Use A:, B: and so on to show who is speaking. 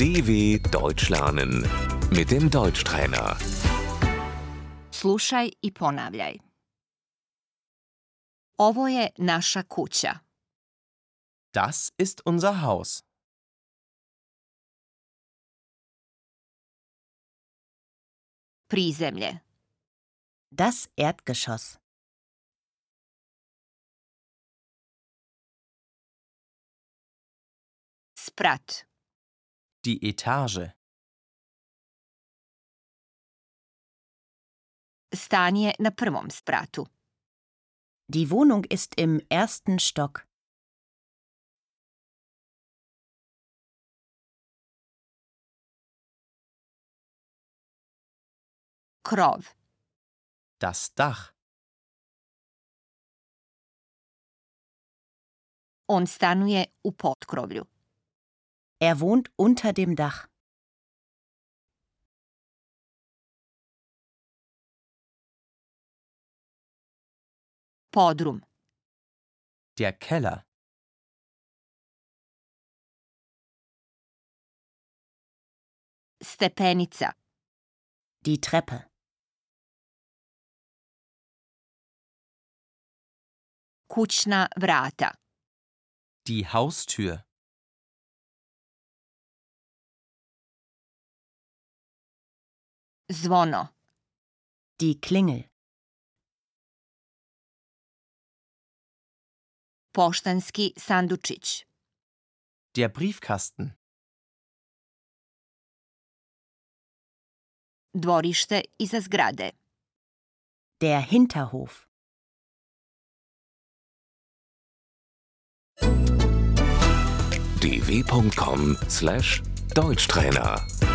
A: DW Deutsch lernen mit dem Deutschtrainer.
B: Slušaj i ponavljaj. Ovo je naša kuća.
C: Das ist unser Haus.
B: Prizemlje.
D: Das Erdgeschoss.
B: Sprat.
C: Die Etage.
B: Stan je na prvom spratu.
D: Die Wohnung ist im ersten Stock.
B: Krov.
C: Das Dach.
B: On stanuje u potkrovlju.
D: Er wohnt unter dem Dach.
B: Podrum.
C: Der Keller.
B: Stepenica.
D: Die Treppe.
B: Kućna vrata.
C: Die Haustür.
B: Zvono.
D: Die Klingel.
B: Poštanski sandučić.
C: Der Briefkasten.
B: Dvorište iza zgrade.
D: Der Hinterhof.
A: dw.com/deutschtrainer